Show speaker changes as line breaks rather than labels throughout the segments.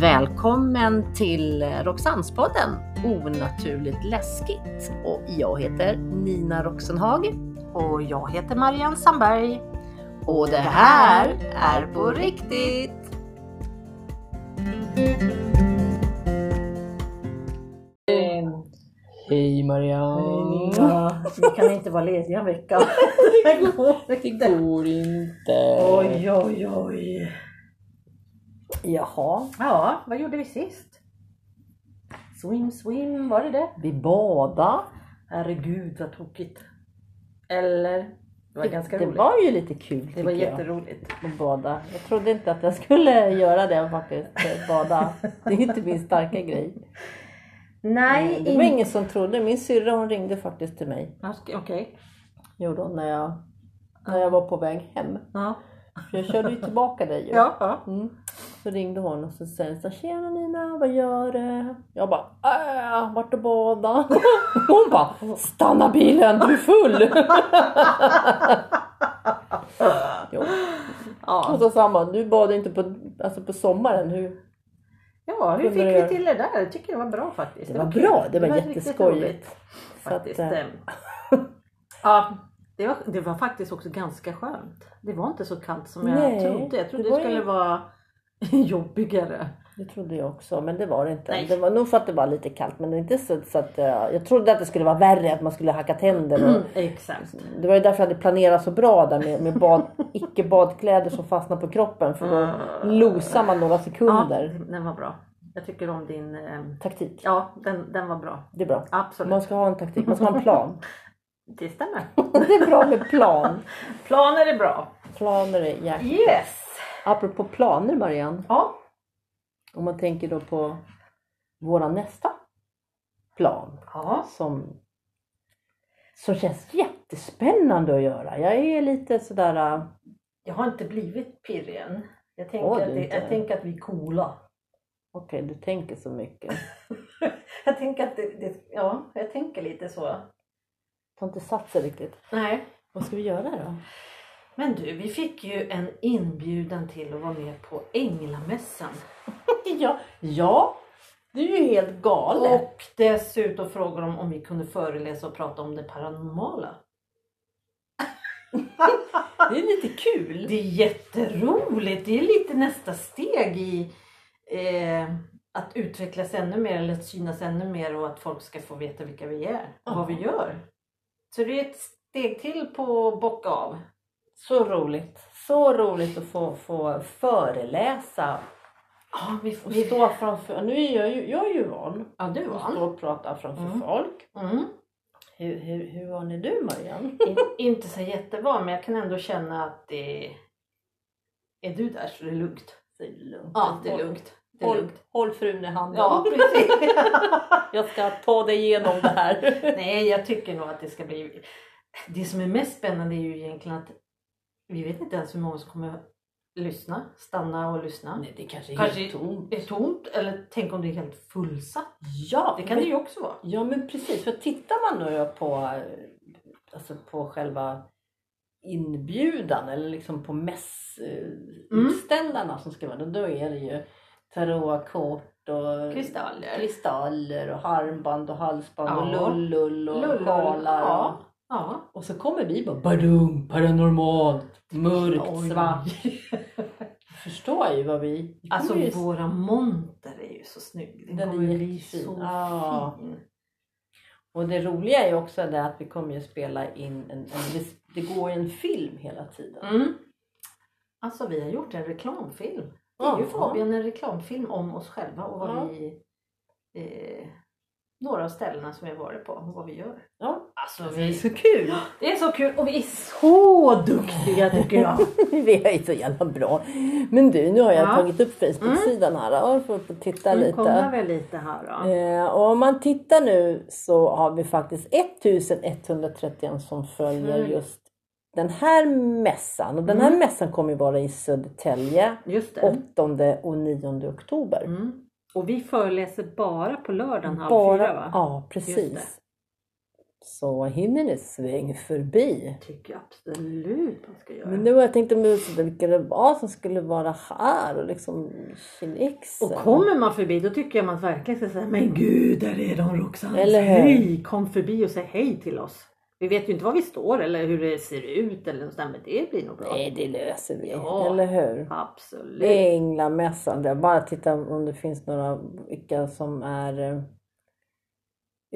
Välkommen till Roxannespodden Onaturligt läskigt. Och jag heter Nina Roxenhag.
Och jag heter Marianne Sandberg.
Och det här är på riktigt! Hej Marianne!
Vi kan inte vara lediga en vecka. Det går inte.
går inte.
Oj, oj, oj.
Jaha.
Ja, vad gjorde vi sist? Swim, swim, var det det?
Vi bada.
Herregud vad tokigt. Eller? Det var ganska
det
roligt.
var ju lite kul
det var
tycker
jätteroligt.
jag, att bada. Jag trodde inte att jag skulle göra det faktiskt, eh, bada. Det är inte min starka grej.
Nej,
Det var ingen som trodde. Min syrra hon ringde faktiskt till mig,
Ja, ska- Okej.
gjorde hon, när jag, när jag var på väg hem.
Ja.
För jag körde ju tillbaka dig ju.
Ja, ja.
Mm. Så ringde hon och så säger hon så här, Tjena Nina, vad gör du? Jag bara, äh, vart och bada. Hon bara, stanna bilen, du är full. jo. Och
Ja.
så sa man, du bad inte på, alltså på sommaren. Hur?
ja, hur
Kunde
fick
du
vi
göra?
till det där? Jag tycker det var bra faktiskt.
Det var
kul.
bra, det var
riktigt
jätteskojigt.
roligt,
Så att,
Faktiskt.
eh,
eh, ja, det var, det var faktiskt också ganska skönt. Det var inte så kallt som jag
Nej,
trodde. Jag trodde
det
det
var ju-
skulle vara jobbigare.
Det trodde jag också, men det var det inte.
Nej.
Det var nog för att det var lite kallt, men inte så, så att eh, jag trodde att det skulle vara värre, att man skulle hacka tänder. Och,
Mm, Exakt.
det var ju därför jag hade planerat så bra där med, med bad, icke badkläder som fastnar på kroppen, för då losar man några
Ja,
sekunder.
den var bra. Jag tycker om din... ehm,
Taktik,
Ja, den, den var bra.
det är bra. Man
Absolut.
ska ha en taktik, man ska ha en plan.
Det stämmer.
Det är bra med plan.
Planer är bra.
Planer är jäkligt...
Yes!
Apropå planer Marianne,
Ja,
om man tänker då på våra nästa plan.
ja.
som, som känns jättespännande att göra. Jag är lite sådär, äh,
Jag har inte blivit pirrig än. Jag
Har
tänker,
du
att, det,
inte?
jag tänker att vi är coola.
okej du tänker så mycket.
Jag tänker att det, det, ja, jag tänker lite så.
Ta inte satser riktigt.
Nej.
Vad ska vi göra då?
Men du, vi fick ju en inbjudan till att vara med på Änglamässan.
Ja, ja du är ju helt galen.
Och dessutom frågade de om vi kunde föreläsa och prata om det paranormala.
det är lite kul.
Det är jätteroligt! Det är lite nästa steg i eh, att utvecklas ännu mer eller att synas ännu mer och att folk ska få veta vilka vi är och vad vi gör. Så det är ett steg till på bock av.
Så roligt. Så roligt att få, få föreläsa.
Ja, vi får...
Och stå framför, nu är jag ju, jag är ju van
Ja, du
att stå
var.
och prata framför
Mm.
folk.
Mm.
Hur, hur, hur van är du Marianne?
In- inte så jättevan, men jag kan ändå känna att det... Är du där så är det lugnt.
Det är lugnt.
Ja, det är lugnt. Det är
Håll,
lugnt.
håll frun i handen.
Ja, precis.
Jag ska ta dig igenom det här.
Nej, jag tycker nog att det ska bli... Det som är mest spännande är ju egentligen att vi vet inte ens hur många som kommer lyssna, stanna och lyssna.
Nej, det kanske är
Kanske-
helt tomt.
Det är tomt, eller tänk om det är helt fullsatt.
Ja,
Det kan det
men,
ju också vara.
ja, men precis. För tittar man nu då på, eh, alltså på själva inbjudan eller liksom på
Mm.
mässutställarna som ska vara där, då är det ju tarotkort och
Kristaller.
kristaller och harmband och halsband
Ja.
och lullull och
Lullull,
sjalar.
ja. Ja.
Och så kommer vi bara badum, paranormalt, mörkt,
Oj.
svart. Förstår ju vad vi... vi
Alltså
kommer ju-
våra monter är ju så snygg. Den,
Den är
kommer bli
jättefin.
så
Ja.
fin.
Och det roliga är ju också det att vi kommer ju spela in en, en det- det går ju en film hela tiden.
Mm. Alltså vi har gjort en reklamfilm. Det är ju
Ja.
Fabian en reklamfilm om oss själva och vad
Ja.
vi... Eh, några av ställena som vi har varit på och vad vi gör.
Ja.
Alltså
Det är
vi,
så kul!
det är så kul och vi är så duktiga tycker jag.
vi är ju så jävla bra. Men du, nu har jag
Ja.
tagit upp Facebook-sidan här. Ja, får upp och titta
Nu kollar
lite.
vi lite här då.
Eh, och om man tittar nu så har vi faktiskt 1131 som följer
Mm.
just den här mässan. Och den här mässan kommer ju vara i Södertälje
Just det.
8 och 9 oktober.
Mm. Och vi föreläser bara på lördagen halv
Bara,
fyra va?
Ja,
Just det.
precis. Så hinner ni sväng förbi.
tycker jag absolut man ska göra.
Men nu har jag tänkt om det- vilka det var som skulle vara här och liksom kineser.
Och kommer man förbi då tycker jag man verkligen ska säga Men gud, där är de Roxanne!
Eller hur?
Hej! Kom förbi och säg hej till oss! Vi vet ju inte var vi står eller hur det ser ut eller något sånt där, men det blir nog bra.
Nej, det löser vi.
Ja.
Eller hur?
Absolut!
Änglamässan. Jag bara tittar om det finns några, vilka som är eh,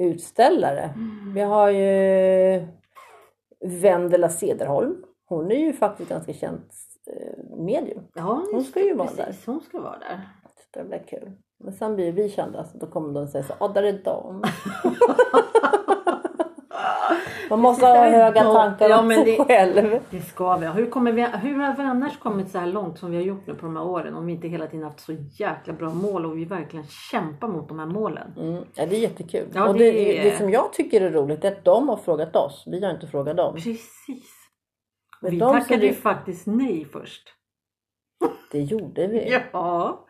utställare.
Mm.
Vi har ju Vendela Cederholm. Hon är ju faktiskt ganska känt eh, medium.
Ja,
Hon
just
ska
det,
ju vara
precis, Hon ska vara där.
Så det blir kul. Men sen blir vi kända så då kommer de säga så ja där är de. Man måste
Precis,
ha
där är
höga
de.
tankar
Ja,
om
men
sig
det-
själv.
Det ska vi ha. Hur, kommer vi, hur har vi annars kommit så här långt som vi har gjort nu på de här åren om vi inte hela tiden haft så jäkla bra mål och vi verkligen kämpar mot de här målen?
Mm, ja, det är jättekul.
Ja,
och det,
det
det,
är-
som jag tycker är roligt är att de har frågat oss. Vi har inte frågat dem.
Precis!
Men
vi
de som
tackade
vi-
ju faktiskt nej först.
Det gjorde vi.
Ja,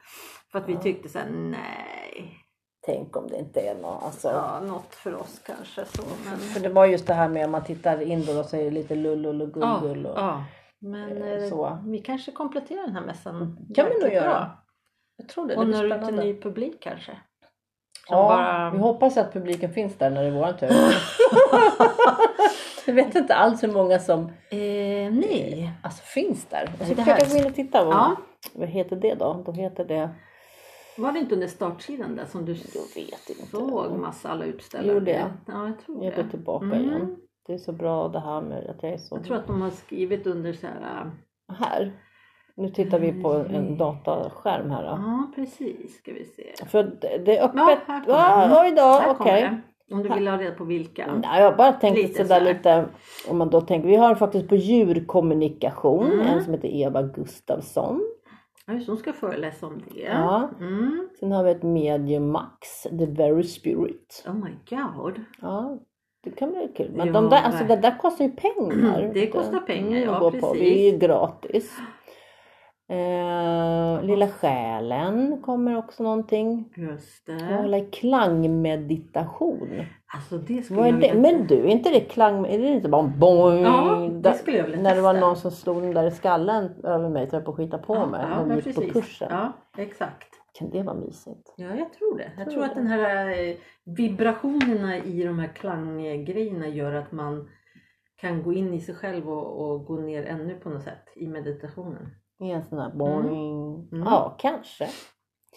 för att vi
Ja.
tyckte så här, nej.
Tänk om det inte är något. Alltså.
Ja, något för oss kanske. Så, men...
För det var just det här med om man tittar in då så är det lite lull och
Ja,
gull och
ja. Men
eh,
eh,
så. Mm.
vi kanske kompletterar den här mässan.
kan vi
jäkligt
nog göra.
bra.
Jag tror det.
Och
det
når
blir
ut till
spännande.
ny publik kanske. Som
Ja,
bara-
vi hoppas att publiken finns där när det är våran tur. Jag vet inte alls hur många som
Eh, nej.
alltså, finns där. Jag
Nej,
ska
det här-
försöka gå in och titta. Vad,
Ja.
vad heter det då? Då heter det...
Var det inte under startsidan där som du
Jag vet inte.
såg massa alla utställare?
Gjorde jag?
Ja, jag tror
Jag
det.
går tillbaka
Mm.
igen. Det är så bra det här med att jag är så...
Jag tror att de har skrivit under så här. äh,
Här. Nu tittar vi på en dataskärm här. Då.
Ja, precis. Ska vi se.
För det det är
Ja,
öppet.
här kommer den.
Ja, oj då,
Här
okej. Mm.
kommer det. Om du vill ha reda på vilka.
Nej, jag bara tänkte
Lite
sådär
så här.
lite, om man då tänker, vi har faktiskt på djurkommunikation,
Mm.
en som heter Eva Gustafsson.
Ja, just det, hon ska föreläsa om det.
Ja.
Mm.
Sen har vi ett medium Max, The Very Spirit.
Oh my god.
Ja, det kan bli kul. Men
Ja,
de där, alltså, det
verkligen.
där kostar ju pengar.
Det kostar pengar,
att
ja,
Mm. gå På. Det är ju
precis.
gratis. Eh, Lilla själen kommer också någonting.
Just
Jag
det.
håller i klangmeditation.
Alltså det skulle
Vad är
jag
det?
vilja-
Men du, är inte det klang... Är det inte bara boing?
Ja, det
Där-
skulle jag vilja
När det var
testa.
någon som slog den där i skallen över mig så jag höll på att skita på
ja,
mig.
ja,
när
men
vi gick
precis.
på kursen.
Ja, exakt.
Kan det vara mysigt?
Ja, jag tror det. Jag
Tror
tror,
det.
att den här eh, vibrationerna i de här klanggrejerna gör att man kan gå in i sig själv och, och gå ner ännu på något sätt i meditationen.
I en sån där boing.
Mm.
Ja, kanske.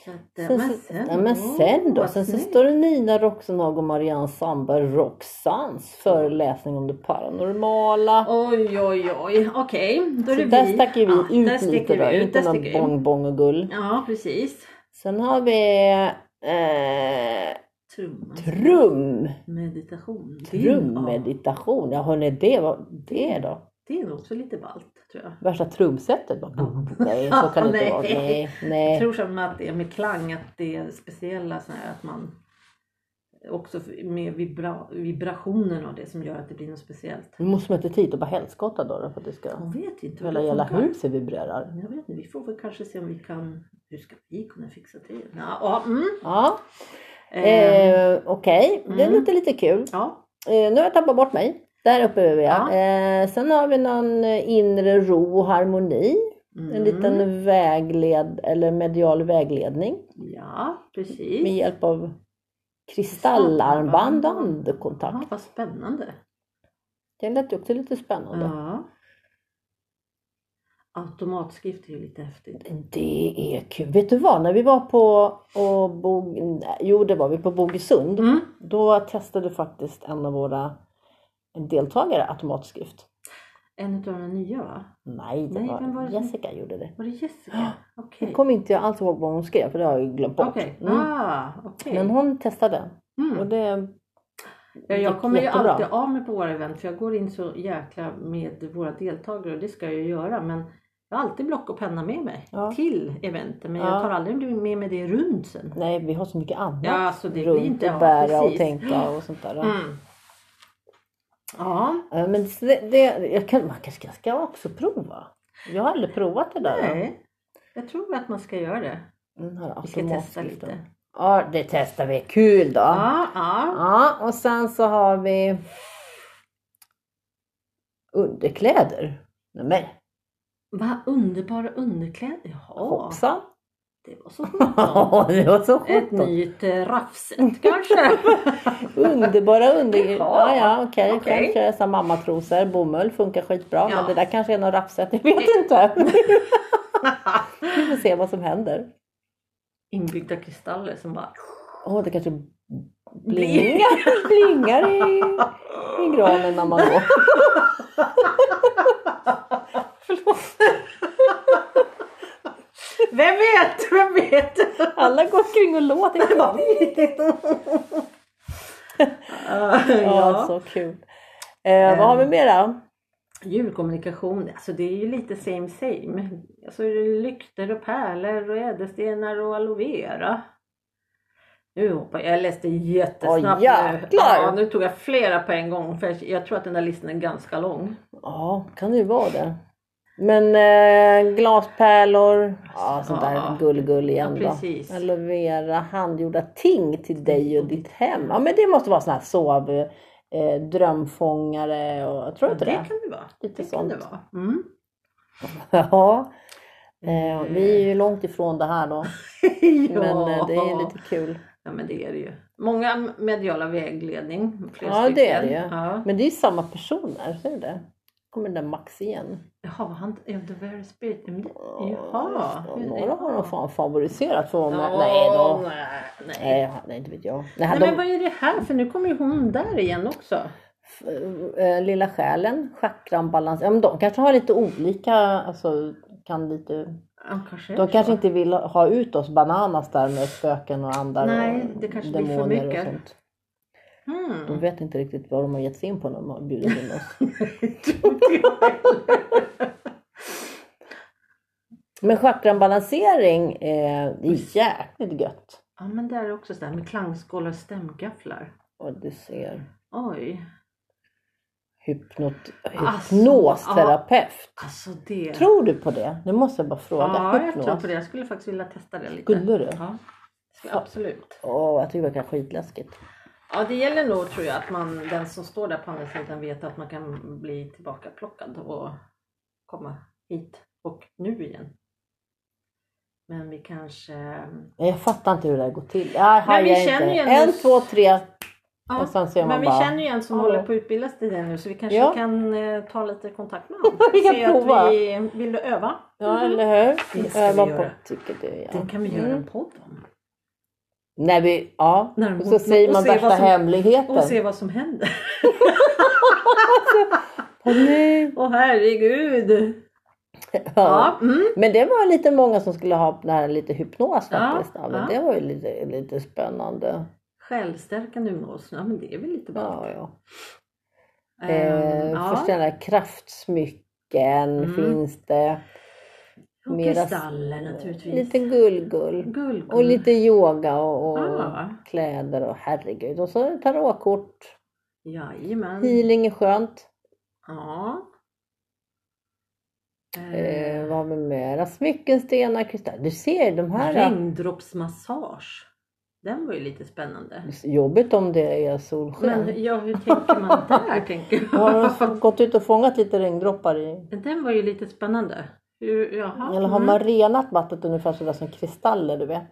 Så att, eh,
Sen, så- ja, men sen
Åh,
då?
vad
Sen så
snyggt.
står det Nina Roxenhag och Marianne Sandberg Roxans föreläsning om det paranormala.
Oj, oj, oj. Okej, då är
så
det
där
vi.
stack ju vi
Ja, där
ut
sticker
lite då.
vi ut,
Inte
där sticker
någon
vi ut.
bong bong och gull.
Ja, precis.
Sen har vi eh,
Trumman.
Trum.
Meditation. Det är-
Trummeditation, ja hörni det var det då.
Det är nog också lite ballt tror jag.
Värsta trumsetet. bara- Nej så kan det inte vara. Nej,
Nej.
nej.
Jag tror som att det är med klang, att det är speciella så här att man också med vibra vibrationen och det som gör att det blir något speciellt.
Nu måste man inte titta och bara helskotta då, då för att det ska
Jag vet inte
hela
det
jävla
funkar.
huset vibrerar.
Jag vet inte, vi får väl kanske se om vi kan, hur ska vi kunna fixa det? Ja, ja, mm.
Ja,
Eh,
eh, okej. Det
mm.
låter lite kul.
ja.
Eh, nu har jag tappat bort mig. Där uppe är jag.
Ja.
Eh, sen har vi någon eh, inre ro och harmoni.
Mm.
En liten vägled eller medial vägledning
Ja,
med
precis.
hjälp av kristallarmband och andkontakt.
Ja, vad spännande.
Det lät ju också lite spännande.
Ja. Automatskrift är ju lite häftigt.
Det är kul. Vet du vad, när vi var på och bog... nej, jo, det var vi på Bogesund.
Mm.
Då testade faktiskt en av våra deltagare automatskrift.
En av de nya va?
Nej, det
Nej,
var,
vem var det som-
Jessica gjorde det.
Var det Jessica? Okej.
Nu kommer inte jag alls ihåg vad hon skrev för det har jag ju glömt bort.
Okej.
Mm.
Ah, okej.
Men hon testade och
mm.
det
ja,
gick
jag kommer ju
jättebra.
alltid av mig på våra event för jag går in så jäkla med våra deltagare och det ska jag ju göra men jag har alltid block och penna med mig
Ja.
till eventen men
Ja.
jag tar aldrig med mig det runt sen.
Nej, vi har så mycket annat.
Ja, alltså det blir
Runt
inte
och
ja,
bära och
precis.
tänka och sånt där.
Mm. Ja,
Ja, Men det, det, jag kan, man kanske ska också prova. Jag har aldrig provat det där. Mm,
nej. Jag tror att man ska göra det.
Den här
Vi ska testa
Alltså, automatskriften.
lite.
Ja, det testar vi. Kul då.
Ja, ja.
Ja, och sen så har vi underkläder. Nej, men
Vad underbara underkläder. Jaha,
hoppsan.
det var så
Ja, det var så
Ett
sjutton.
nytt eh, raffset kanske?
Underbara underkläder.
Jaha.
Ja, ja, okej.
Okej.
Kanske så här mammatrosor, bomull funkar skitbra.
Ja.
Men det där kanske är någon raffset, jag vet inte. Vi får se vad som händer.
Inbyggda kristaller som bara...
Åh, det kanske blingar, blingar i, i granen när man går.
Vem vet? Vem vet?
Alla går kring och låter. Ja, så kul. Eh, vad har vi mer då?
Djurkommunikation, alltså det är ju lite same same. Alltså det är lykter och pärlor och ädelstenar och aloe vera. Nu hoppar jag, jag läste jättesnabbt
Oj,
nu.
jäklar!
Ja, nu tog jag flera på en gång för jag- jag tror att den där listan är ganska lång.
Ja, kan det ju vara det. Men eh, glaspärlor, ja, sånt där
Ja.
gullgull igen
Ja,
då.
precis.
Aloe vera, handgjorda ting till dig och ditt hem. Ja, men det måste vara sån här sov, eh, drömfångare och tror du inte det?
kan det vara.
Lite
det kan det
sånt.
vara. Mm.
Ja. Eh, vi
Mm.
är ju långt ifrån det här då,
ja.
men eh, det är lite kul.
ja, men det är det ju. Många mediala vägledning. flera
Ja, det är det ju.
stycken. Ja.
Men det är ju samma personer, ser du det? kommer den där Max igen.
Jaha, vad han... Ja, The Very Spirit. Mm, det- Jaha.
Ja, Några har de fan favoriserat för honom.
Ja,
Nej då.
nej, nej.
Nej, nej, inte vet jag. Nej,
Nej,
de,
men vad är det här för? Nu kommer ju hon där igen också.
eh, Lilla själen, chakran, balans. Ja, men de kanske har lite olika, alltså kan lite...
Ja, kanske är
De
det
kanske
så.
inte vill ha ut oss bananas där med spöken och andar
Nej,
och
det kanske blir för
demoner
mycket.
och sånt. De
Mm.
vet inte riktigt vad de har gett sig in på när de har bjudit in oss. Men chakranbalansering eh, är jäkligt gött.
ja, men där är också sådär med klangskålar och stämgafflar.
Och du ser.
Oj.
Hypnot,
Alltså,
hypnosterapeut.
Alltså det.
Tror du på det? Nu måste jag bara fråga.
ja, jag
Hypnos?
tror på det. Jag skulle faktiskt vilja testa det lite.
Skulle du?
Ja. Ska- Absolut.
Åh, jag tycker det verkar skitläskigt.
Ja, det gäller nog tror jag att man, den som står där på andra sidan vet att man kan bli tillbaka plockad och komma hit och nu igen. Men vi kanske...
Nej, Jag fattar inte hur det där går till. Jag
Men vi
hajar inte.
känner ju ändå-
En, två, tre.
Ja,
Och sen ser man
men vi
bara-
känner ju en som
Ja.
håller på att utbildas till det nu så vi kanske
Ja.
kan eh, ta lite kontakt med honom.
Vi kan
Se att
prova.
Vi, vill du öva?
Ja, eller hur?
Det Mm. ska
Öva
vi
på,
göra.
tycker du. Ja.
Den kan vi göra
Mm.
en podd om.
När vi, ja.
När-
och så
Mm.
säger
och
man
se vad
värsta
som-
hemligheten.
Och se vad som händer.
Åh, nej.
Åh herregud!
Ja.
Ja, mm.
Men det var lite många som skulle ha den här lite hypnos
Ja,
faktiskt. Ja, men
ja.
Det var ju lite, lite spännande.
Självstärkande hypnos. Ja, men det är väl lite bra.
Ja, ja.
Ehm,
Eh, Först den där kraftsmycken
Mm.
finns det.
Och
mera-
kristaller naturligtvis.
Lite gullgull.
Gull.
Och lite
Mm.
yoga och, och
Ja.
kläder och herregud. Och så tarotkort.
Jajamän.
Healing är skönt.
Ja.
Eh, vad har vi mera? Smycken, stenar, kristaller. Du ser de här.
Regndroppsmassage. Den var ju lite spännande.
Jobbigt om det är solsken.
Men ja, hur tänker man där? tänker jag.
Har de gått ut och fångat lite regndroppar i?
Den var ju lite spännande. Hur, jaha.
Eller har
mm.
man renat vattnet ungefär sådär som kristaller du vet?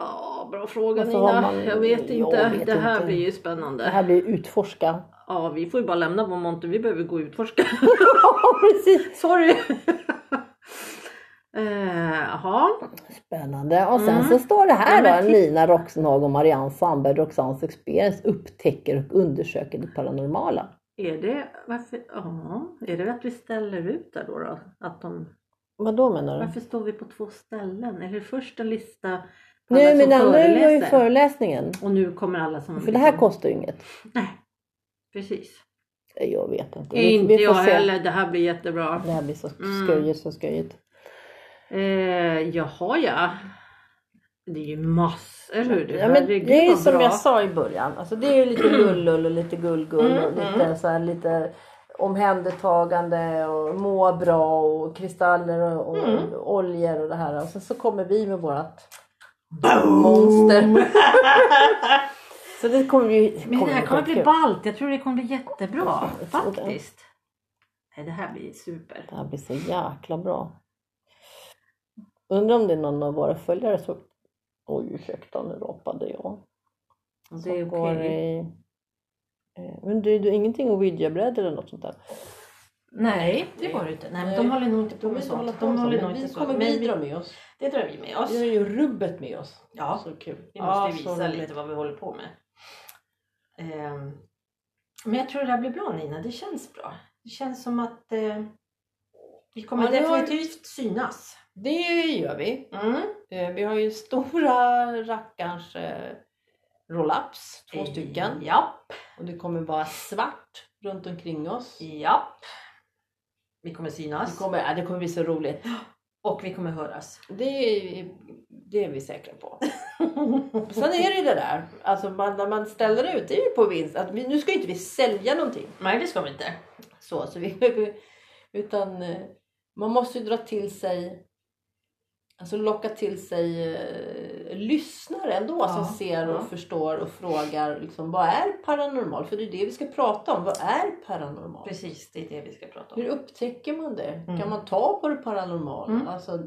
Ja, Ah, bra fråga
Varför har
Nina.
man-
Jag vet inte.
Jag vet
det här
inte.
blir ju
Det
spännande.
här blir utforska.
Ja, vi får ju bara lämna vår monter. Vi behöver gå och utforska.
Ja precis!
Sorry! Eh, Jaha.
Spännande. Och sen
Mm.
så står det här
Ja, men
då.
titta.
Nina Roxenhag och Marianne Sandberg, Roxans Experience, upptäcker och undersöker det paranormala.
Är det, varför, ja, är det att vi ställer ut där då? då? Att de,
Vad då menar du?
varför står vi på två ställen? Är det först en lista på
Nej
alla
men
som
den där var ju
föreläser?
föreläsningen.
Och nu kommer alla som...
För det här kostar ju inget.
Nej, precis.
Jag vet inte.
inte jag heller. Det här blir jättebra.
Det här blir så
Mm.
skojigt, så skojigt.
Eh, jaha ja. Det är ju massor. Hur det,
Ja, men det är ju
vad
som
bra.
jag sa i början. Alltså, det är ju lite lullull och lite gullgull
Mm,
och lite, så här, lite omhändertagande och må
Mm.
bra och kristaller och, och oljor och det här. Och sen så kommer vi med vårat
Monster.
Så det kommer ju...
Men det här kommer bli
skitkul.
ballt. Jag tror det kommer bli jättebra.
Jag tror det.
Faktiskt. Nej, det här blir super.
Det här blir så jäkla bra. Undrar om det är någon av våra följare som... Oj, ursäkta, nu rapade jag.
Och
Som
det är
går
okej.
i... eh, Men du, du ingenting ouija-bräd eller något sånt där?
Nej, det var det inte. Nej, men de
Nej.
håller nog inte på
De är
med
så
sånt.
de
De håller nog
men
inte
vi
så.
kommer
Men
bidra med oss.
Det drar vi med oss.
Vi har ju rubbet med oss.
Ja.
Så kul.
Vi måste ju
Ja, så
visa
roligt.
lite vad vi håller på med. Ehm, men jag tror det här blir bra Nina, det känns bra. Det känns som att eh, vi kommer
Ja, det har-
definitivt synas.
Det gör vi.
Mm.
Eh, Vi har ju stora rackarns eh, roll-ups,
Eh,
två stycken.
Ja,
Och det kommer vara svart runt omkring oss.
ja. Vi kommer synas
Det kommer, ja, det kommer bli så roligt.
och vi kommer höras.
Det är, det är vi säkra på. Sen är det ju det där, alltså man, när man ställer ut, det är ju på vinst. Att vi, nu ska ju inte vi sälja någonting.
Nej, det ska vi inte.
Så, så vi, utan eh, man måste ju dra till sig, alltså locka till sig eh, lyssnare ändå
Ja,
som ser och
ja.
förstår och frågar liksom, vad är paranormal? För det är det vi ska prata om. Vad är paranormal?
Precis, det är det vi ska prata om.
Hur upptäcker man det?
Mm.
Kan man ta på det paranormala?
Mm.
Alltså,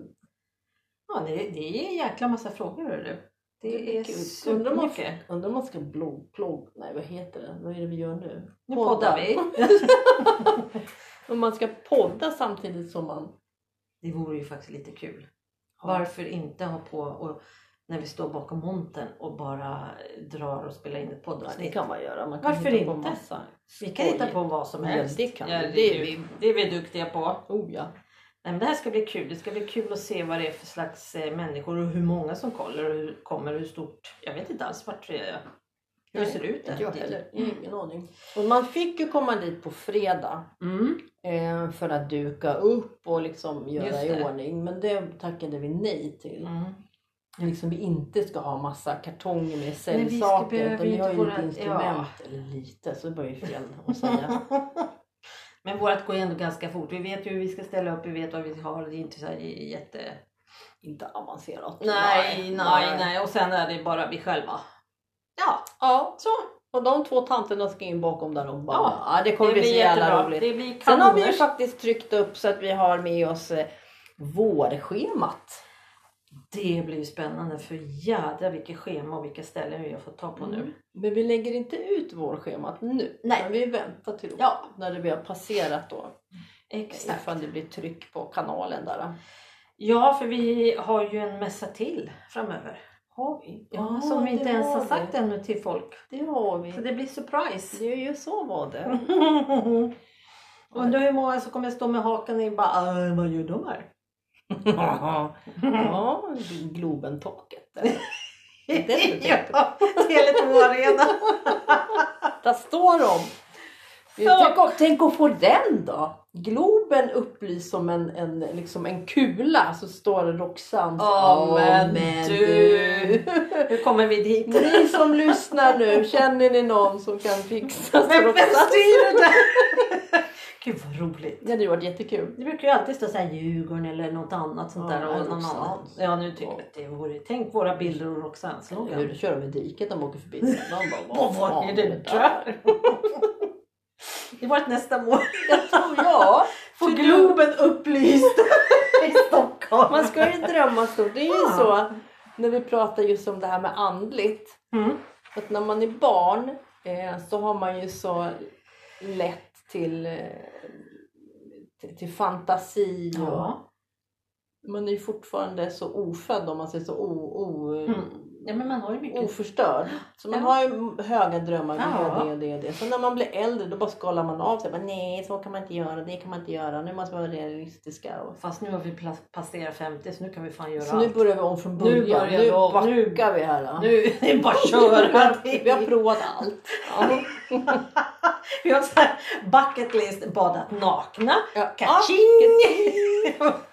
Ja, det, det är en jäkla massa frågor hörru. Det är
kul. Undrar om man-
supermycket.
Undrar om man ska blogg, blogg, nej vad heter det? Vad är det vi gör nu?
Nu poddar vi.
Om man ska podda samtidigt som man...
Det vore ju faktiskt lite kul. Varför inte ha på och, när vi står bakom montern och bara drar och spelar in ett
Ja,
poddavsnitt?
det kan man göra. Man kan
Varför
hitta på
inte?
massa.
vi kan hitta på vad som
Ja,
helst.
det kan
Ja,
vi.
det,
Det
är
är
vi,
vi.
det är vi duktiga på.
Oh ja.
Nej, men det här ska bli kul. Det ska bli kul att se vad det är för slags eh, människor och hur många som kollar och hur, kommer och hur stort. Jag vet inte alls vart det är. Hur det
Nej,
ser ut
Inte jag
där.
heller. Ingen aning. Och man fick ju komma dit på fredag
Mm.
eh, för att duka upp och liksom
Just
göra i
det.
ordning. Men det tackade vi nej till.
Mm.
Liksom vi inte ska ha massa kartonger med
vi ska
säljsaker.
behöva
Utan
ju
vi har ju
inte våra-
lite instrument.
ja.
Eller lite, så det var ju fel att säga.
Men vårt går ju ändå ganska fort. Vi vet ju hur vi ska ställa upp. Vi vet vad vi har. Det är inte så här jätte...
inte avancerat.
Nej, nej, nej. Och sen är det bara vi själva. Ja,
Ja,
så.
och de två tanterna ska in bakom där och bara,
Ja,
ja, det kommer
det
bli
blir
så jävla
jättebra.
roligt.
Det blir
Sen har vi ju
kanoners.
faktiskt tryckt upp så att vi har med oss eh, vårschemat.
Det blir ju spännande för jädra vilket schema och vilka ställen vi har fått ta på nu.
Men vi lägger inte ut vårschemat nu.
Nej.
Men vi väntar till
Ja.
när det vi har passerat då.
Exakt.
Ifall det blir tryck på kanalen där.
Ja, för vi har ju en mässa till framöver.
Har vi?
Ja, som vi inte
det
ens
har
har
vi.
sagt ännu till folk.
Det har vi.
Så det blir surprise.
Det är ju så var det.
Undrar hur många som kommer stå med hakan i bara "Äh, vad gör de här?
ja, Globentorket. där. Det är det du tänker på.
ja, Tele2 Arena.
Där står de.
Så.
Tänk, att- tänk att få den då! Globen upplyst som en, en, liksom en kula så står det Roxans
Ja, men du.
du.
Hur kommer vi dit?
Ni som lyssnar nu, känner ni någon som kan fixa så
Men vem
Roxanne?
styr det där? Gud vad roligt.
Det hade ju varit jättekul.
Det brukar ju alltid stå så här Djurgården eller något annat sånt
Ja,
där. Och någon
Roxanne.
annan. Ja nu tycker jag att det vore... Tänk våra bilder och Roxannes
Hur
slogan.
kör de i diket de åker förbi? De bara,
Vad var
fan
det
där?
där? Det var ett nästa mål.
Jag tror jag.
Få Globen upplyst i Stockholm.
Man ska ju drömma stort. Det är ju
Ja.
så när vi pratar just om det här med andligt.
Mm.
Att när man är barn eh, så har man ju så lätt till, eh, till, till fantasi. Och
Ja.
man är ju fortfarande så ofödd om man säger så o, o,
Mm. ja, men man har ju mycket.
oförstörd. Så man
Ja.
har ju höga drömmar. vill
Ja.
göra Det och det och det. Så när man blir äldre då bara skalar man av sig. Bara, Nej så kan man inte göra, det kan man inte göra. Nu måste man vara realistiska. Och...
Fast nu har vi pla- passerat 50 så nu kan vi fan göra
Så nu
allt.
börjar vi om från
Nu
början.
börjar
Nu,
vi om. Nu-
backar vi här. då.
Nu är det bara att
Vi
köra.
har- Vi har provat allt. Ja.
Vi har så Ah, här bucket list, badat nakna.
Ja.
Kaching!
Det har, vi gjort.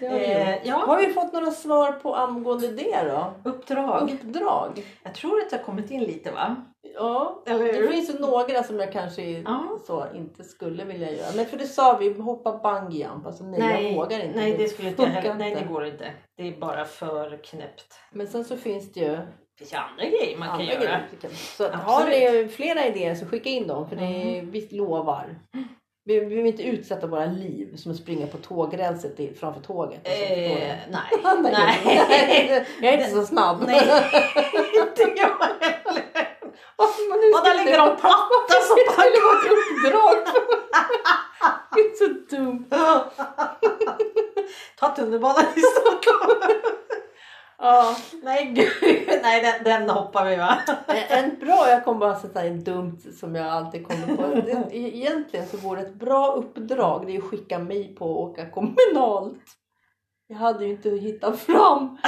Eh, ja,
har vi fått några svar på angående det då?
uppdrag.
Uppdrag?
Jag tror att det har kommit in lite va?
Ja,
Eller
det
hur?
finns ju några som jag kanske
Ja.
så inte skulle vilja göra. Men för det sa vi, hoppa bungyjump. Alltså nej, jag vågar inte.
Nej, det skulle inte jag
funkar
heller. Nej,
inte.
det går inte. Det är bara för knäppt.
Men sen så finns det ju
Det finns ju andra grejer man kan
andra
göra.
grejer. Så att, har
Absolut. Mm.
ni flera idéer så skicka in dem för det, vi lovar. Vi, vi vill inte utsätta våra liv som att springa på tågrälset i- framför tåget. Alltså, förstår
Eh,
ni?
nej.
Andra
nej.
grejer. Jag är inte så snabb.
Nej, inte jag heller.
Varför man nu
Och där
skulle-
ligger de platta som
Det skulle vara ett uppdrag. Det är så dumt.
Ta tunnelbanan i Stockholm.
Ja.
Nej gud, nej den, den hoppar vi va?
Eh, En bra, jag kommer bara sätta en dumt som jag alltid kommer på. Det- Egentligen så vore ett bra uppdrag det är att skicka mig på att åka kommunalt. Jag hade ju inte hittat fram.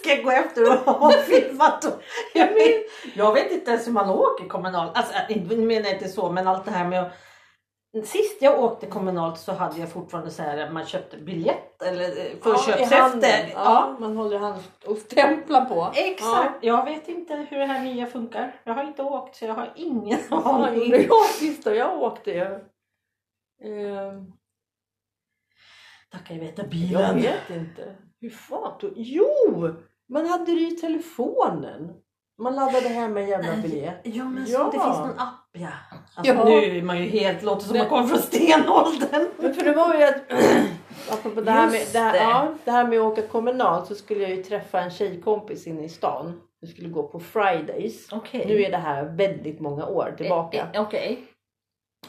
Ska jag gå efter och ha filmat då? Jag, men, jag vet inte ens hur man åker kommunalt. Alltså äh, inte- nu menar jag inte så men allt det här med att Sist jag åkte kommunalt så hade jag fortfarande så här att man köpte biljett eller eh,
i handen.
förköpshäfte.
Ja, Man håller i handen och stämplar på.
Exakt! Jag vet inte hur det här nya funkar. Jag har inte åkt så jag har ingen
Ja, gjorde
aning.
jag sist då? Jag åkte ju. Eh,
Tackar jag veta
Jag
bilen.
vet inte. Hur fan tog... Jo! Man hade det i telefonen. Man laddade hem en jävla
Nej.
biljett.
Ja men så
Ja.
det finns någon app ja. Alltså,
Ja.
Nu är man ju helt, låter som man kommer från stenåldern.
Men för det var ju att, apropå det här, med,
Just
det, här,
det.
ja, det här med att åka kommunalt så skulle jag ju träffa en tjejkompis inne i stan. Vi skulle gå på Fridays.
Okej.
Nu är det här väldigt många år tillbaka.
Eh, eh, Okej.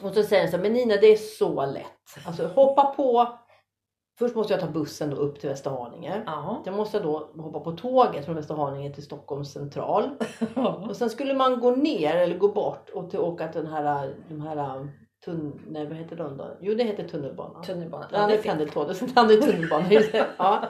Och så säger hon så här, men Nina det är så lätt. Alltså hoppa på. Först måste jag ta bussen då upp till Västerhaninge.
Ja.
Jag måste jag då hoppa på tåget från Västerhaninge till Stockholms central. Och sen skulle man gå ner eller gå bort och till åka till den här, de här tunn, nej vad heter de då? Jo det heter tunnelbanan.
Tunnelbanan.
Ja, det är pendeltåget som landar i tunnelbanan. just det. ja.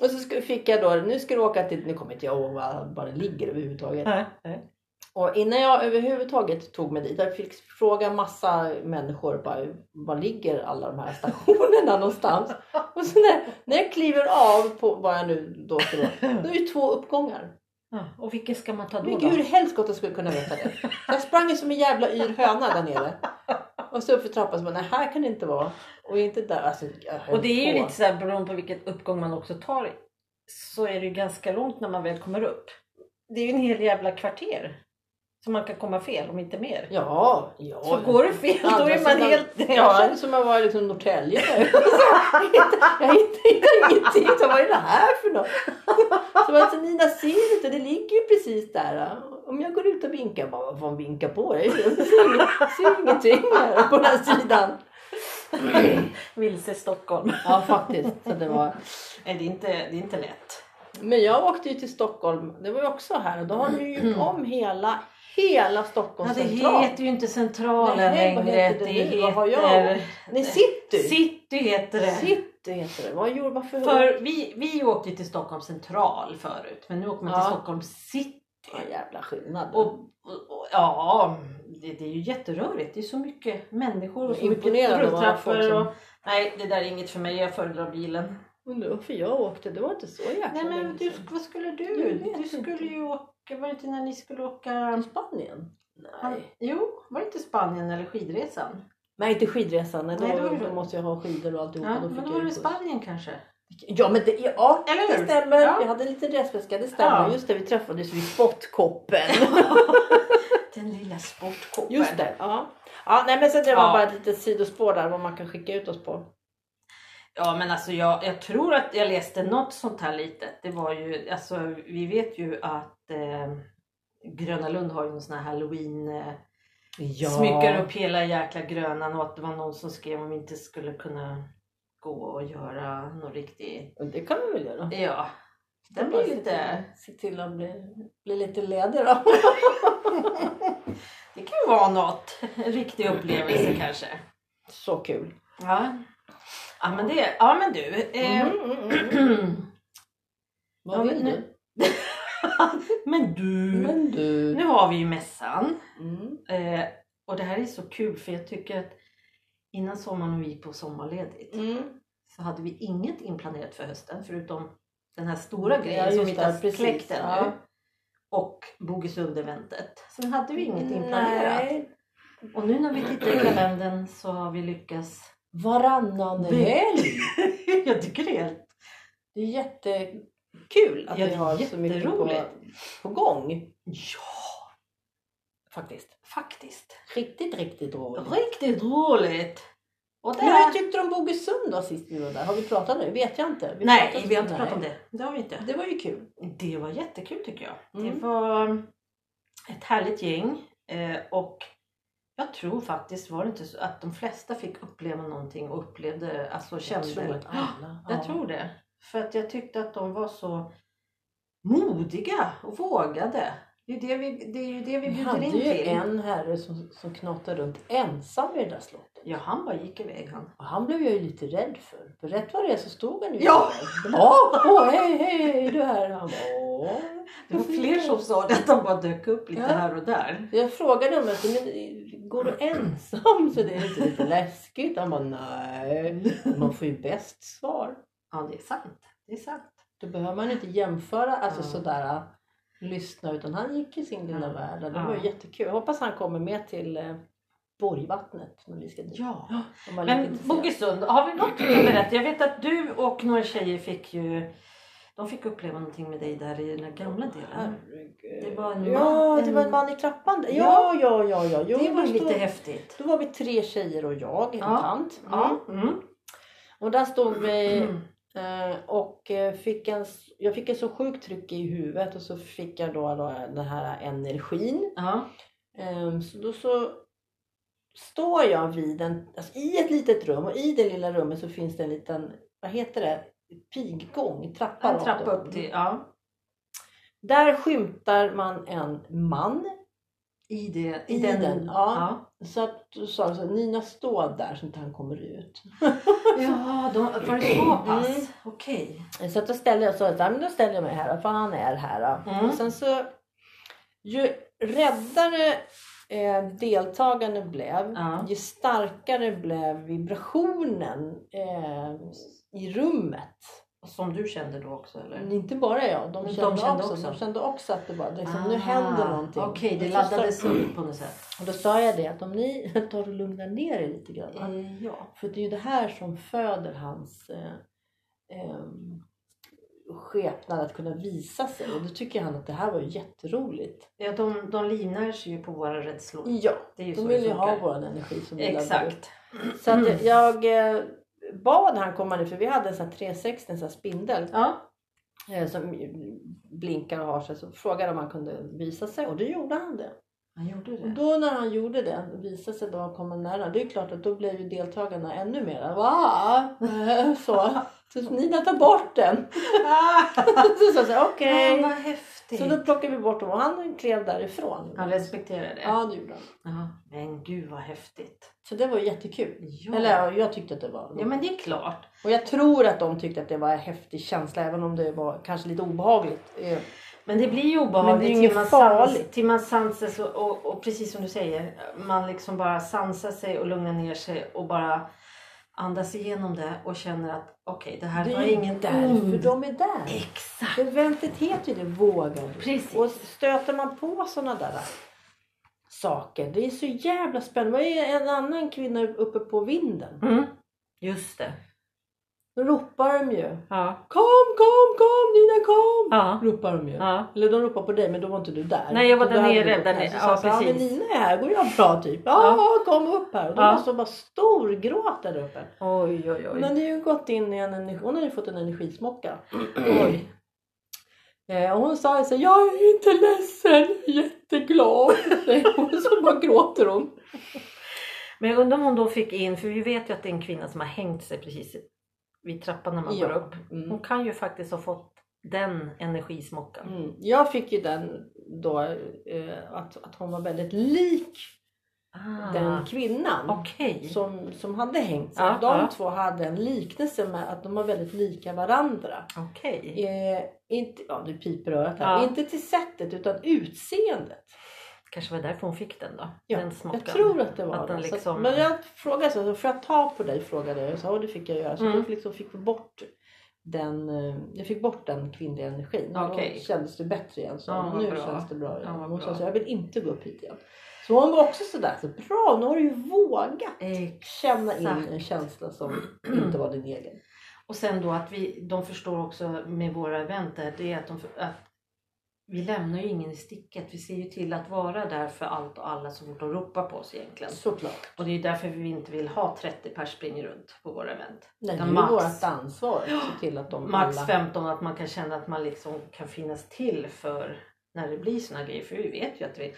Och så skulle- fick jag då, nu ska du åka till, nu kommer inte jag ihåg var, var det ligger överhuvudtaget.
Nej, nej.
Och innan jag överhuvudtaget tog mig dit, jag fick fråga massa människor bara, var ligger alla de här stationerna någonstans? Och så när, när jag kliver av på vad jag nu då ska då, då är det två uppgångar.
Ja, Och vilken ska man ta då?
Men
då?
gud, hur helskotta jag skulle kunna veta det. Jag sprang ju som en jävla yr höna där nere. Och så upp för trappan så bara, nej här kan det inte vara. Och inte där. Alltså, jag höll
Och det är ju
på.
lite så här beroende på vilken uppgång man också tar i, så är det ju ganska långt när man väl kommer upp. Det är ju en hel jävla kvarter. Så man kan komma fel om inte mer.
Ja, ja.
Så går det fel då
Andra
är man
sidan-
helt...
Jag
Ja.
kände som jag var i liksom Norrtälje nu. Jag hittade- Jag hittade ingenting. Så vad är det här för något? Så jag sa, Nina ser du inte? Det ligger ju precis där. Om jag går ut och vinkar, bara, vad fan vinkar på? Jag ser ing- ser ingenting här på den här sidan.
Vilse Stockholm.
Ja, faktiskt. Så det var...
Nej, det är inte, det är inte lätt.
Men jag åkte ju till Stockholm, det var ju också här och då har de ju gjort om hela, hela Stockholm
Mm. Ja, det
central.
heter ju inte Centralen
Nej, vad
längre.
heter det
det
nu? Vad har jag?
heter...
Nej, city!
City heter det.
City heter det. Vad gjorde, varför?
För vi, vi åkte ju till Stockholm central förut men nu åker man till
Ja.
Stockholm city.
Vad jävla skillnad.
Och, och, och, ja, det, det är ju jätterörigt. Det är så mycket människor och så mycket
Imponerande vad folk
rulltrappor.
som-
Och, nej, det där är inget för mig. Jag föredrar bilen.
Undrar varför jag åkte, det var inte så jäkla
Nej men
länge
du,
sedan.
vad skulle
Jag
du?
vet
Du
inte.
skulle ju åka, var det inte när ni skulle åka?
Spanien? Nej.
Jo, var det inte Spanien eller skidresan?
Nej inte skidresan, nej, då,
Nej, då var det-
då måste jag ha skidor och alltihopa.
Ja,
då fick
men då
jag
var
ju
det
buss.
Spanien kanske?
Ja men det, ja,
Eller
det
hur?
stämmer.
Ja.
Jag hade en liten resväska, det stämmer.
Ja.
Just det, vi träffades vid spottkoppen.
Den lilla sportkoppen.
Just det. Ja. Ja, nej, men så det var
Ja.
bara ett litet sidospår där vad man kan skicka ut oss på.
Ja men alltså jag, jag tror att jag läste något sånt här litet. Det var ju, alltså vi vet ju att eh, Gröna Lund har ju en sån här halloween eh,
Ja.
smyckar upp hela jäkla Grönan och att det var någon som skrev om vi inte skulle kunna gå och göra någon riktig,
Det kan man väl göra.
ja. Den blir lite,
Se till att bli, bli lite ledig då.
det kan ju vara något, en riktig upplevelse kanske.
Så kul.
Ja. Ja men det, ja men du. Eh,
Mm, mm, mm. Vad
Ja, men
vill du?
men du,
Men du.
nu har vi ju mässan.
Mm.
Eh, och det här är så kul för jag tycker att innan sommaren var vi på sommarledigt.
Mm.
så hade vi inget inplanerat för hösten förutom den här stora
Ja,
grejen som
just
vi
det,
inte
precis.
släckt ännu.
Ja.
Och Bogesundeventet. Sen hade vi inget inplanerat.
Nej. Mm.
Och nu när vi tittar i kalendern så har vi lyckats.
Varannan
Det-
helg.
Jag tycker det är helt
Det är jättekul att
Ja,
vi
det är
har så mycket på,
jätteroligt.
på gång.
Ja,
Faktiskt.
faktiskt.
Riktigt, riktigt roligt.
Riktigt roligt! Och det
Men hur
här...
tyckte du om Bogesund då sist vi var där? Har vi pratat nu? Vet jag inte.
Nej,
pratade-
vi har inte pratat om
Nej.
det. Det har vi inte.
Det var ju kul.
Det var jättekul tycker jag.
Mm.
Det var eh, ett härligt gäng eh, och jag tror faktiskt var det inte så att de flesta fick uppleva någonting och upplevde, alltså kände.
Jag tror att alla...
Jag
ja.
tror det. För att jag tyckte att de var så modiga och vågade. Det är ju det vi, det är ju det vi
Vi
bjuder
hade
in
ju
till.
en herre som, som knatade runt ensam i det där slottet.
Ja, han bara gick iväg han.
Och han blev jag ju lite rädd för. För rätt vad det är så stod han ju
Ja.
där. De bara, Åh, åh, hej, hej, hej, du här. Och Han bara, åh.
Det var fler som sa det att de bara dök upp lite
Ja.
här och där.
Jag frågade honom, men går du ensam så det är inte lite läskigt? Han bara, nej. Man får ju bäst svar.
Ja, det är sant. Det är sant.
Då behöver man inte jämföra, alltså
Ja.
sådär äh, lyssna utan han gick i sin lilla
Ja.
värld. Det
Ja.
var ju jättekul. Jag hoppas han kommer med till eh, Borgvattnet när vi ska dit.
Ja.
om man är lite
Men
intresserad.
Bogesund, har vi något att berätta? Jag vet att du och några tjejer fick ju de fick uppleva någonting med dig där i den gamla delen.
Herregud.
Det var en
ja,
man-
det var en man i trappan. där.
Ja.
Ja, ja, ja. ja. Jo,
det var
då
ju lite
stod-
häftigt.
Då var vi tre tjejer och jag, en
Ja.
tant. Mm.
Ja. Mm.
Och där stod vi
Mm.
Eh, och eh, fick en, s- jag fick en så sjuk tryck i huvudet och så fick jag då, då den här energin.
Ja.
Eh, så då så står jag vid en, alltså i ett litet rum och i det lilla rummet så finns det en liten, vad heter det, piggång, trappa.
En
rakt
trappa upp till, ja.
Där skymtar man en man.
I, det,
I den,
Ja.
ja. Så att då sa jag så här, Nina stå där så inte han kommer ut.
Jaha, de, var det så pass?
Mm.
Okej.
Så att då ställde jag, så att, ja, men då ställer jag mig här för han är här. Då.
Mm.
Och sen så, ju räddare eh, deltagarna blev,
Ja.
ju starkare blev vibrationen eh, i rummet.
Som du kände då också eller?
Mm. Men Inte bara jag, de
Men de
kände,
kände
också,
också.
De kände också att det var liksom,
Ah,
nu händer någonting.
Okej, det
Och så
laddades
sa-
upp på något sätt.
Och då sa jag det att om ni tar och lugnar ner er lite grann.
Eh, Ja.
För det är ju det här som föder hans eh, ehm, skepnad att kunna visa sig. Och då tycker han att det här var ju jätteroligt.
Ja, de, de livnär sig ju på våra rädslor.
Ja,
Det är ju så
De
det
vill ju ha
funkar.
vår energi som vi laddar upp.
Exakt.
Så att jag- jag eh, bad han komma ner för vi hade en sån här 360, en sån här spindel
Ja.
eh, som blinkar och har sig. Så frågade jag om han kunde visa sig och då gjorde han det.
Han gjorde
Och
det.
då när han gjorde det, visade sig då han kom nära, det är klart att då blev ju deltagarna ännu mer va? Eh, Så. så Nina tar bort den. Ah! Så sa jag så här, okej.
Ja, vad häftigt.
Så då plockade vi bort dem och han klev därifrån.
Han respekterar det.
Ja, det gjorde han.
Ja. Men gud vad häftigt.
Så det var ju jättekul.
Ja.
Eller ja, jag tyckte att det var
ja men det är klart.
Och jag tror att de tyckte att det var en häftig känsla även om det var kanske lite obehagligt. Eh,
Men det blir ju
Men det är
obehagligt
ju
till
inget
man, sans,
farligt.
till man sansas och, och, och precis som du säger. Man liksom bara sansar sig och lugnar ner sig och bara andas igenom det och känner att okej det här
Det
var
är
ingen
ingen därför
ond.
de är där.
Exakt.
Eventet heter ju det, vågar du?
Precis.
Och stöter man på sådana där äh, saker, det är så jävla spännande. Det är en annan kvinna uppe på vinden.
Mm. Just det.
Då ropar de ju.
Ja.
Kom, kom, kom Nina kom!
Ja.
Ropar de ju.
ja.
Eller de ropar på dig men då var inte du där.
Nej, jag var
Då
där
hade
nere,
du gått
där
ner.
nere.
Så
Ja,
sa jag så här, Ja men
precis.
Nina är här, går jag bra typ? Ja, kom upp här. Och då
Ja.
var så bara storgråt där uppe.
Oj oj
Hon
oj.
hade ju gått in i en energi, hon hade ju fått en energismocka.
oj.
Eh, och hon sa ju så här, jag är inte ledsen, jag är jätteglad. säger hon så bara gråter hon.
Men jag undrar om hon då fick in, för vi vet ju att det är en kvinna som har hängt sig precis vid trappan när man går upp. Hon
Mm.
kan ju faktiskt ha fått den energismockan.
Mm. Jag fick ju den då eh, att, att hon var väldigt lik
Ah,
den kvinnan.
Okej.
Som, som hade hängt sig.
Mm. Ja,
de
ja.
två hade en liknelse med att de var väldigt lika varandra.
Okej.
Eh, inte, ja, nu piper örat här.
Ja.
Inte till sättet utan utseendet.
Kanske var därför hon fick den då?
Ja,
den smaken.
Jag tror att det var
Att den
det. Så att-
liksom-
Men jag frågade så här, får jag ta på dig? Frågade jag. Jag sa, "Ja, det fick jag göra. Så
Mm.
jag liksom fick bort den, eh, jag fick bort den kvinnliga energin.
Okej.
Då kändes det bättre igen. Så
Ja, vad
nu
bra.
känns det bra igen.
Ja, vad
hon
bra.
sa så, jag vill inte gå upp hit igen. Så hon var också sådär, så bra nu har du ju vågat
Exakt.
känna in en känsla som inte var din egen.
Och sen då att vi, de förstår också med våra event där, det är att, de, för- att vi lämnar ju ingen i sticket. Vi ser ju till att vara där för allt och alla så fort de ropar på oss egentligen.
Såklart.
Och det är ju därför vi inte vill ha 30 pers springer runt på våra event.
Nej, det är
Utan
ju
max-
vårt ansvar att se till att de
Max
alla...
15, att man kan känna att man liksom kan finnas till för när det blir såna grejer. För vi vet ju att vi...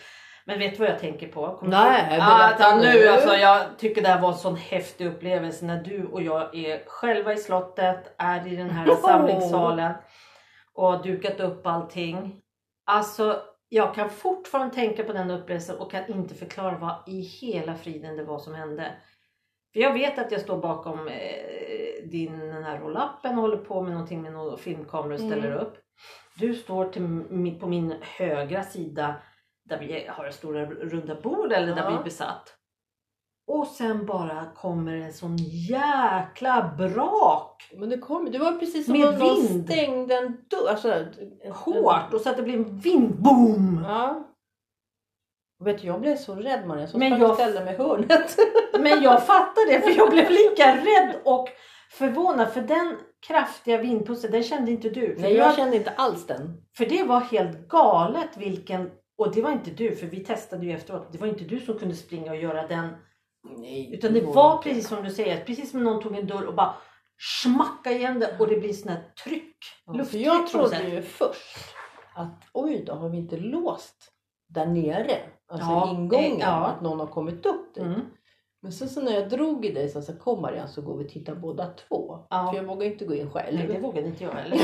Men vet du vad jag tänker på? Kommer
Nej,
du...
berätta
ah, ta nu.
nu.
Alltså, jag tycker det här var en sån häftig upplevelse när du och jag är själva i slottet, är i den här
Åh.
samlingssalen och har dukat upp allting. Alltså, jag kan fortfarande tänka på den upplevelsen och kan inte förklara vad i hela friden det var som hände. För jag vet att jag står bakom eh, din den här rollappen och håller på med någonting med någon filmkamera och ställer
Mm.
upp. Du står till, mi- på min högra sida där vi har det stora runda bord eller där
Ja.
vi är besatt. Och sen bara kommer en sån jäkla brak
Men det kom Det var precis som
Med
om någon
vind.
stängde en dörr. Alltså,
hårt och så att det blir en vindboom.
Ja. Och Vet du, jag blev så rädd Maria så
Men
sprang
jag-
och ställde mig i hörnet.
Men jag fattar det för jag blev lika rädd och förvånad för den kraftiga vindpusten den kände inte du. För
Nej,
du
jag
hade-
kände inte alls den.
För det var helt galet vilken... Och det var inte du, för vi testade ju efteråt. Det var inte du som kunde springa och göra den.
Nej,
Utan det var precis som du säger, precis som någon tog en dörr och bara smacka igen den och det blir sån här tryck.
För
Lufttryck
jag
på något
trodde
sätt.
ju först att oj då, har vi inte låst där nere? Alltså
Ja,
ingången,
eh, ja.
att någon har kommit upp dit.
Mm.
Men sen så när jag drog i dig så sa jag, kom Marianne så går vi och tittar båda två.
Ja.
För jag vågar ju inte gå in själv.
Nej, det vågade inte jag heller.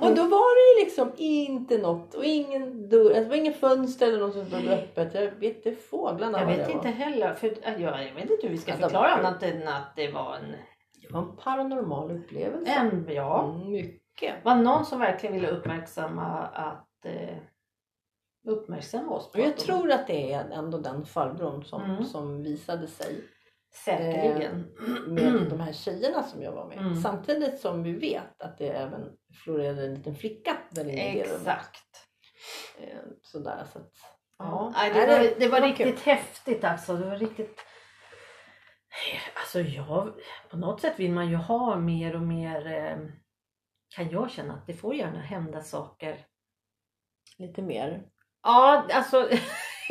Och då var det ju liksom inte något och ingen dörr, alltså, det var ingen fönster eller något som stod öppet. Jag vet inte fåglarna
Jag
vad
vet
det var.
inte heller, för jag, jag vet inte hur vi ska
Ja, de var
förklara
sjuka.
annat än att det var en...
Det var en paranormal upplevelse.
en ja.
Mm, Mycket.
Det var någon som verkligen ville uppmärksamma att... Eh, uppmärksamma oss på
Och jag
att de-
tror att det är ändå den farbrorn som,
Mm.
som visade sig
Säkerligen.
eh, med de här tjejerna som jag var med.
Mm.
Samtidigt som vi vet att det även florerade en liten flicka där inne i det rummet.
Exakt.
Eh, Sådär, så att,
Ja.
ja.
Nej, det,
Nej,
var, det var
kul.
riktigt häftigt alltså. Det var riktigt... Alltså jag, på något sätt vill man ju ha mer och mer eh, kan jag känna att det får gärna hända saker.
Lite mer.
Ja, alltså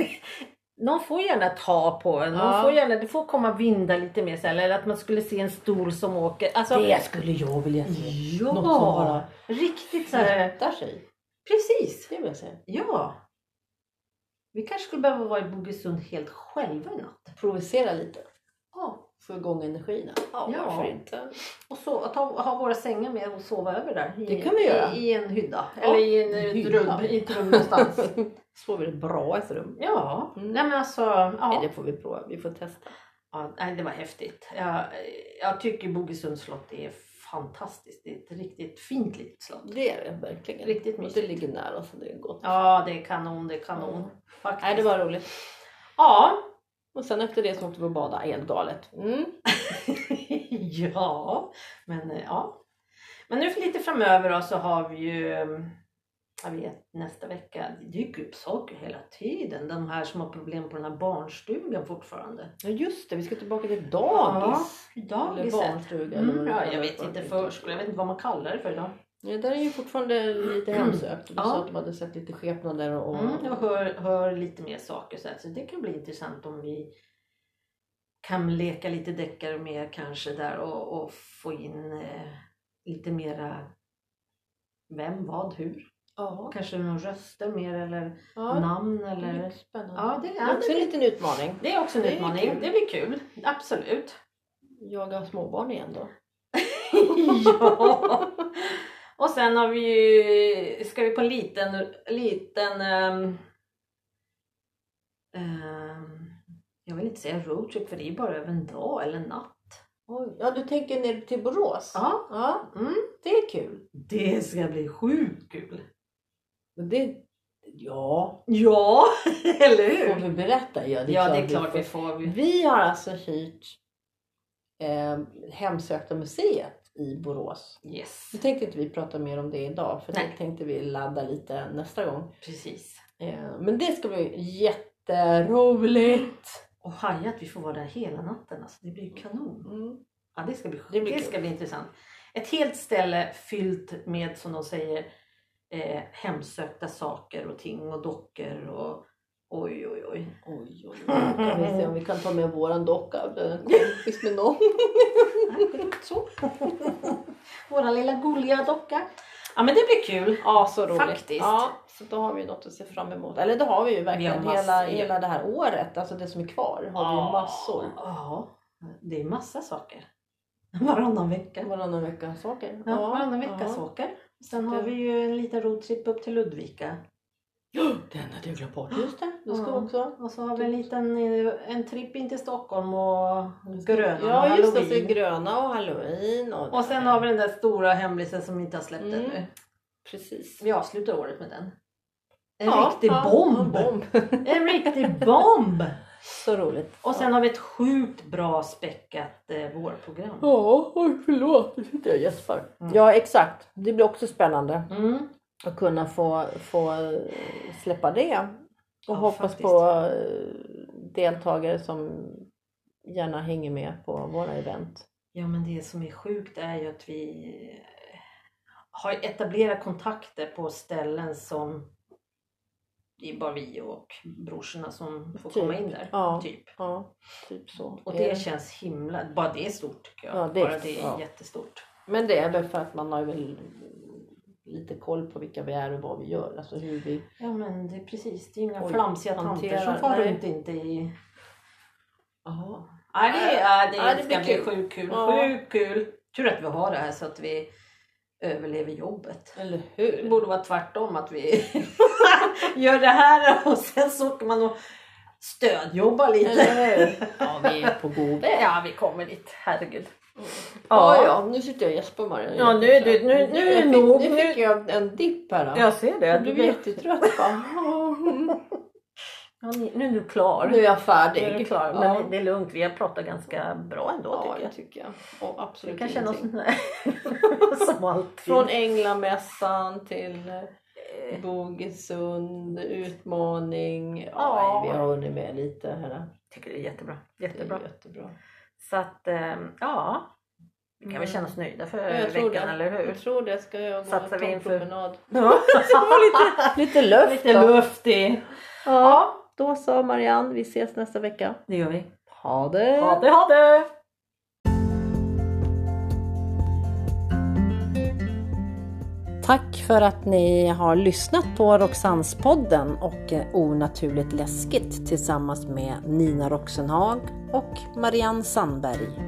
någon får gärna ta på en. Någon
Ja.
får gärna, det får komma vindar lite mer så här, eller att man skulle se en stol som åker. Alltså,
Det skulle jag vilja se.
ja,
Något som bara
riktigt så här.
flyttar sig.
Precis.
Det vill jag säga.
Ja. Vi kanske skulle behöva vara i Bogesund helt själva i natt.
Provocera lite.
Ja.
Få igång energierna.
Ja.
varför inte?
Och så att ha, ha våra sängar med och sova över där. I,
Det kan vi göra.
I, i en hydda.
Ja,
Eller i en, ett
hydda.
rum, i ett rum någonstans.
Sover i ett bra i ett rum.
ja.
Mm.
Nej men alltså. Ja.
Nej, det får vi prova. Vi får testa.
ja, nej, det var häftigt. Jag, jag tycker Bogesunds slott är fantastiskt. Det är ett riktigt fint litet slott.
Det är det verkligen.
Riktigt
Och det
mysigt.
ligger nära så det är gott.
Ja det är kanon, det är kanon. Faktiskt.
Nej, det var roligt.
Ja.
Och sen efter det så åkte vi och badade helt galet. Mm.
ja, men eh, ja. Men nu för lite framöver då, så har vi ju, eh, jag vet nästa vecka, det dyker upp saker hela tiden. De här som har problem på den här barnstugan fortfarande.
Ja just det, vi ska tillbaka till dagis.
Ja,
eller
dagiset.
barnstuga. eller vad
Mm,
det
ja,
kallas
jag vet
för.
inte förskola, jag vet inte vad man kallar det för idag.
Ja, där är ju fortfarande lite hemsökt. Du
Ja.
sa att du hade sett lite skepnader och...
Mm, jag hör, hör lite mer saker så, här, så det kan bli intressant om vi kan leka lite deckare mer kanske där och, och få in eh, lite mera vem, vad, hur.
Ja,
Kanske några röster mer eller
ja.
namn
Det är
eller...
mycket spännande.
Ja, det
Det är
är,
också en liten utmaning.
det är också en
Det är
utmaning.
kul.
det blir kul, absolut.
Jaga småbarn igen då.
ja. Och sen har vi ju, ska vi på en liten, liten ehm, ehm, jag vill inte säga roadtrip för det är bara över en dag eller en natt.
Oj. Ja, du tänker ner till Borås?
Ja,
Ja,
mm.
det är kul.
det ska bli sjukt kul.
Men det Ja,
Ja, eller
får
hur?
vi berätta? Ja, det är
Ja,
klart
det är klart
får.
vi får. Mm. Vi-
Vi har alltså hyrt eh, Hemsökta museet i Borås.
Yes,
Nu tänkte inte vi prata mer om det idag för
Nej.
det tänkte vi ladda lite nästa gång.
precis.
Eh, men det ska bli jätteroligt!
Och haja att vi får vara där hela natten. Alltså, det blir ju kanon.
Mm.
Ja, det ska bli,
Det
det
blir kul.
ska bli intressant. Ett helt ställe fyllt med, som de säger, eh, hemsökta saker och ting och dockor och oj, oj, oj.
Oj, oj, oj. Kan vi se om vi kan ta med våran docka? Blir en kompis med någon?
Nej, det är inte så. Våra lilla gulliga docka. Ja, men det blir kul.
Ja, så roligt.
Faktiskt.
Ja, så då har vi något att se fram emot. Eller det har vi ju verkligen
Vi har massor.
hela, hela det här året. Alltså det som är kvar har vi ju massor.
Ja, det är massa saker. Varannan vecka.
Varannan vecka saker.
Ja, varannan vecka
ja.
saker. Sen har vi ju en liten roadtrip upp till Ludvika.
Den hade jag glömt bort. Just det, det ska
Ja.
vi också.
Och så har vi en
Typ.
liten eh, en tripp in till Stockholm och Grönan och
Ja just det,
Halloween.
så är gröna och halloween. Och,
Och sen har vi den där stora hemlisen som inte har släppt
Mm.
ännu.
Precis.
Vi avslutar året med den. En
Ja,
riktig
ja,
bomb!
en bomb.
En riktig bomb!
Så roligt.
Och sen har vi ett sjukt bra späckat eh, vårprogram.
Ja, oj förlåt. Nu sitter jag och gäspar.
Mm.
Ja exakt. Det blir också spännande
Mm.
att kunna få, få eh, släppa det. Och
Ja,
hoppas
faktiskt.
på eh, deltagare som gärna hänger med på våra event.
Ja men det som är sjukt är ju att vi eh, har etablerat kontakter på ställen som det är bara vi och brorsorna som får
Typ.
komma in där.
Ja.
Typ.
Ja, typ så.
Och
är
det känns himla... Bara det är stort tycker jag.
Ja, det är-
bara det är
ja.
jättestort.
Men det är väl för att man har väl lite koll på vilka vi är och vad vi gör. Alltså hur vi...
Ja men det är precis, det är inga
Oj,
flamsiga tanter
hanterar-
som far
nej.
runt inte i...
Aha.
Nej det, är, det,
Ja, det
ska
blir
bli
kul.
sjukt kul.
Ja.
Sjukt kul! Tur att vi har det här så att vi överlever jobbet.
Eller
Det
hur?
borde vara tvärtom att vi gör det här och sen så åker man och stödjobbar lite.
Eller hur? Ja, vi är på god väg.
Ja vi kommer dit, herregud.
Ja, ja, nu sitter jag och gäspar Maria.
Ja, nu är du- nu- nu är det
Jag fick-
nog.
Nu fick jag en dipp här. då.
ser
Jag blev jättetrött bara.
Ja, ni- nu är du klar.
Nu är jag
Nu är du
färdig.
klar.
Ja.
Nej, det är lugnt, vi har pratat ganska bra ändå
Ja,
tycker jag.
det tycker jag. Och
Vi
absolut
kan känna oss
ingenting.
som alltid.
Från Änglamässan till eh, Bogesund, utmaning. Ja,
Ja.
nej, vi har hunnit med lite här.
tycker det är jättebra.
Det är
jättebra.
jättebra.
Så att ehm, ja, vi kan väl
Mm.
känna oss nöjda för
Ja, jag tror
veckan,
det.
eller hur?
Jag tror det. Ska jag gå
Satsar
och
vi
ta en
inför-
promenad?
Ja,
Lite luft
lite luft i.
Ja, då sa Marianne, vi ses nästa vecka.
Det gör vi.
Ha det!
Ha det, ha det!
Tack för att ni har lyssnat på Roxannespodden och eh, Onaturligt läskigt tillsammans med Nina Roxenhag och Marianne Sandberg.